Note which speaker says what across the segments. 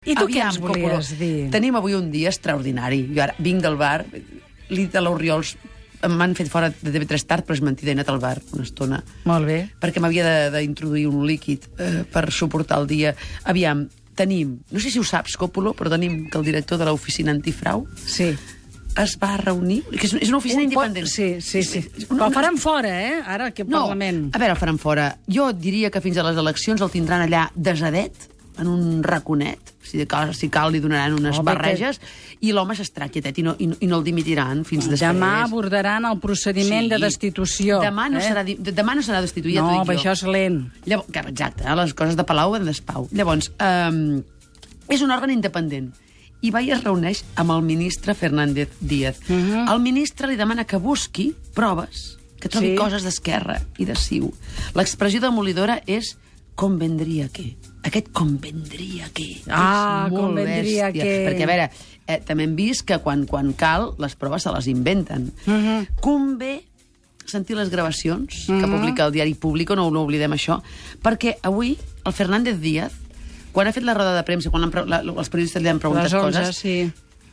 Speaker 1: I tu què
Speaker 2: Aviam,
Speaker 1: ens
Speaker 2: com
Speaker 1: volies
Speaker 2: voleu.
Speaker 1: dir?
Speaker 2: Tenim avui un dia extraordinari. Jo ara vinc del bar, l'Ita l'Oriols m'han fet fora de TV3 tard, però és mentida, he anat al bar una estona,
Speaker 1: Molt bé.
Speaker 2: perquè m'havia de- d'introduir un líquid eh, per suportar el dia. Aviam, tenim, no sé si ho saps, Còpolo, però tenim que el director de l'oficina antifrau
Speaker 1: Sí.
Speaker 2: es va reunir, que és, és una oficina
Speaker 1: Un po-
Speaker 2: independent.
Speaker 1: Sí, sí, sí.
Speaker 2: Una-
Speaker 1: Però el faran fora, eh? Ara, aquí al
Speaker 2: no,
Speaker 1: Parlament.
Speaker 2: a veure, el faran fora. Jo diria que fins a les eleccions el tindran allà desadet, en un raconet, si, de cal, si cal li donaran unes
Speaker 1: Home,
Speaker 2: Home, barreges, i l'home s'estarà quietet i no, i, no, i no el dimitiran fins després.
Speaker 1: Demà abordaran el procediment de destitució.
Speaker 2: Demà no,
Speaker 1: eh?
Speaker 2: serà, di- demà no serà destituït, ja
Speaker 1: No,
Speaker 2: t'ho
Speaker 1: però
Speaker 2: dic jo.
Speaker 1: això és lent.
Speaker 2: Llavors, que, exacte, eh, les coses de Palau en despau. Llavors, um, és un òrgan independent i va i es reuneix amb el ministre Fernández Díaz.
Speaker 1: Mhm.
Speaker 2: El ministre li demana que busqui proves, que trobi
Speaker 1: Sí.
Speaker 2: coses d'esquerra i de ciu. L'expressió demolidora és convendria que. Aquest convendria que.
Speaker 1: Ah,
Speaker 2: és molt
Speaker 1: convendria
Speaker 2: bèstia.
Speaker 1: que.
Speaker 2: Perquè, a veure, eh, també hem vist que quan, quan cal, les proves se les inventen. Convé sentir les gravacions que publica el diari Público, no, no oblidem això, perquè avui el Fernández Díaz, quan ha fet la roda de premsa, quan l'han pre- la, els periodistes li han preguntat
Speaker 1: Les 11,
Speaker 2: coses,
Speaker 1: sí.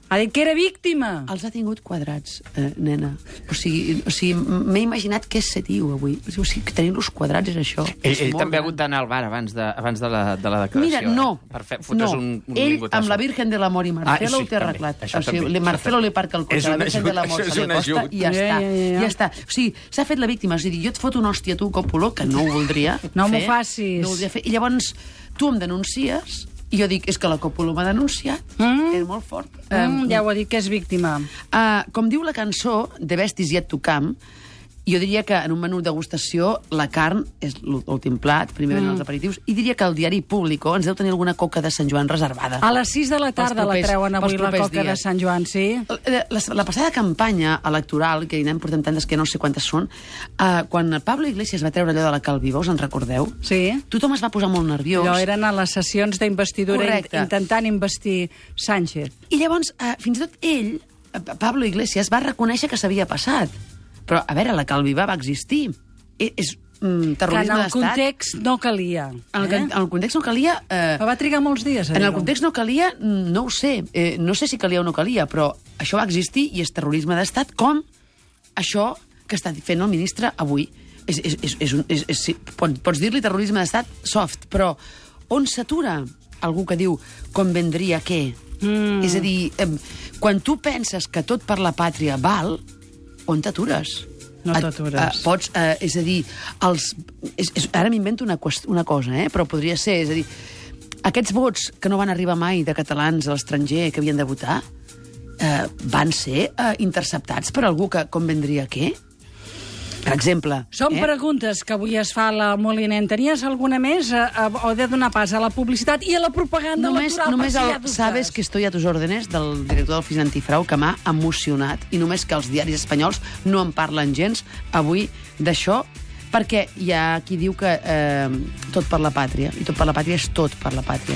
Speaker 1: Ha dit que era víctima.
Speaker 2: els ha tingut quadrats, eh, nena. O sigui, o sigui m'he imaginat què se diu avui. O sigui, que tenir-los quadrats és això.
Speaker 3: Ell,
Speaker 2: És
Speaker 3: ell
Speaker 2: molt
Speaker 3: també ha
Speaker 2: gran.
Speaker 3: hagut d'anar al bar abans de, abans de, la, de la declaració.
Speaker 2: Mira, no.
Speaker 3: Eh? Per fer, fotre's
Speaker 2: no.
Speaker 3: un, un
Speaker 2: Ell,
Speaker 3: lingotasso.
Speaker 2: amb la Virgen de l'Amor i Marcelo,
Speaker 3: Ah, sí,
Speaker 2: ho té
Speaker 3: també.
Speaker 2: arreglat.
Speaker 3: Això
Speaker 2: o sigui,
Speaker 3: també,
Speaker 2: li
Speaker 3: això
Speaker 2: Marcelo
Speaker 3: també.
Speaker 2: li parca el
Speaker 3: És
Speaker 2: cotxe, la
Speaker 3: un
Speaker 2: Virgen de
Speaker 3: ajut,
Speaker 2: l'Amor
Speaker 3: això és
Speaker 2: se li
Speaker 3: un
Speaker 2: acosta
Speaker 3: ajut.
Speaker 2: i ja,
Speaker 1: Ja,
Speaker 2: està.
Speaker 1: ja, ja.
Speaker 2: Ja està. O sigui, s'ha fet la víctima. O sigui, jo et foto una hòstia a tu, Còpolo, que no ho voldria
Speaker 1: No m'ho
Speaker 2: fer.
Speaker 1: facis.
Speaker 2: No ho voldria fer. I llavors, tu em denuncies, i jo dic, és que la Còpolo m'ha denunciat.
Speaker 1: Mm.
Speaker 2: És molt fort.
Speaker 1: Mm, ja ho ha dit que és víctima.
Speaker 2: Uh, com diu la cançó de Bestis i et tocam, jo diria que en un menú de degustació la carn és l'últim plat,
Speaker 1: Mm.
Speaker 2: primer venen els aperitius, i diria que el diari Público ens deu tenir alguna coca de Sant Joan reservada.
Speaker 1: A les 6 de la tarda
Speaker 2: Pels propers-
Speaker 1: la treuen avui
Speaker 2: pels
Speaker 1: la
Speaker 2: propers
Speaker 1: coca de
Speaker 2: dies.
Speaker 1: Sant Joan, sí?
Speaker 2: La, la, Eh, la passada campanya electoral, que hi anem portant tantes que no sé quantes són, eh, quan el Pablo Iglesias va treure allò de la Calviva, us en recordeu?
Speaker 1: Sí.
Speaker 2: Tothom es va posar molt nerviós.
Speaker 1: Allò eren a les sessions d'investidura in-
Speaker 2: Correcte.
Speaker 1: intentant investir Sánchez.
Speaker 2: I llavors, eh, fins i tot ell, eh, Pablo Iglesias, va reconèixer que s'havia passat. Però, a veure, la Calvivà va existir. I, és mm,
Speaker 1: Que en
Speaker 2: terrorisme
Speaker 1: el
Speaker 2: d'estat.
Speaker 1: context no calia.
Speaker 2: En el,
Speaker 1: eh?
Speaker 2: con- en el context no calia... Eh,
Speaker 1: Però va trigar molts dies a
Speaker 2: en el
Speaker 1: dir-ho.
Speaker 2: context no calia, mm, no ho sé. Eh, no sé si calia o no calia, però això va existir i és terrorisme d'estat com això que està fent el ministre avui. És, és, és, és, un, és, és sí, pot- pots dir-li terrorisme d'estat soft, però on s'atura algú que diu convendria què? Mm. És a dir, eh, quan tu penses que tot per la pàtria val, on t'atures?
Speaker 1: No
Speaker 2: Et-
Speaker 1: t'atures.
Speaker 2: eh, pots, eh, és a dir, els, és, és, ara m'invento una, qüest- una cosa, eh, però podria ser, és a dir, aquests vots que no van arribar mai de catalans a l'estranger que havien de votar, eh, van ser eh, interceptats per algú que convendria què? Per exemple...
Speaker 1: Són
Speaker 2: eh?
Speaker 1: preguntes que avui es fa a la Molinent. Tenies alguna més? A, a, o de donar pas a la publicitat i a la propaganda
Speaker 2: Només,
Speaker 1: electoral?
Speaker 2: només
Speaker 1: per si hi
Speaker 2: el
Speaker 1: ha dubtes.
Speaker 2: Sabes que estoy a tus órdenes del director del Fis Antifrau que m'ha emocionat i només que els diaris espanyols no en parlen gens avui d'això perquè hi ha qui diu que eh, tot per la pàtria i tot per la pàtria és tot per la pàtria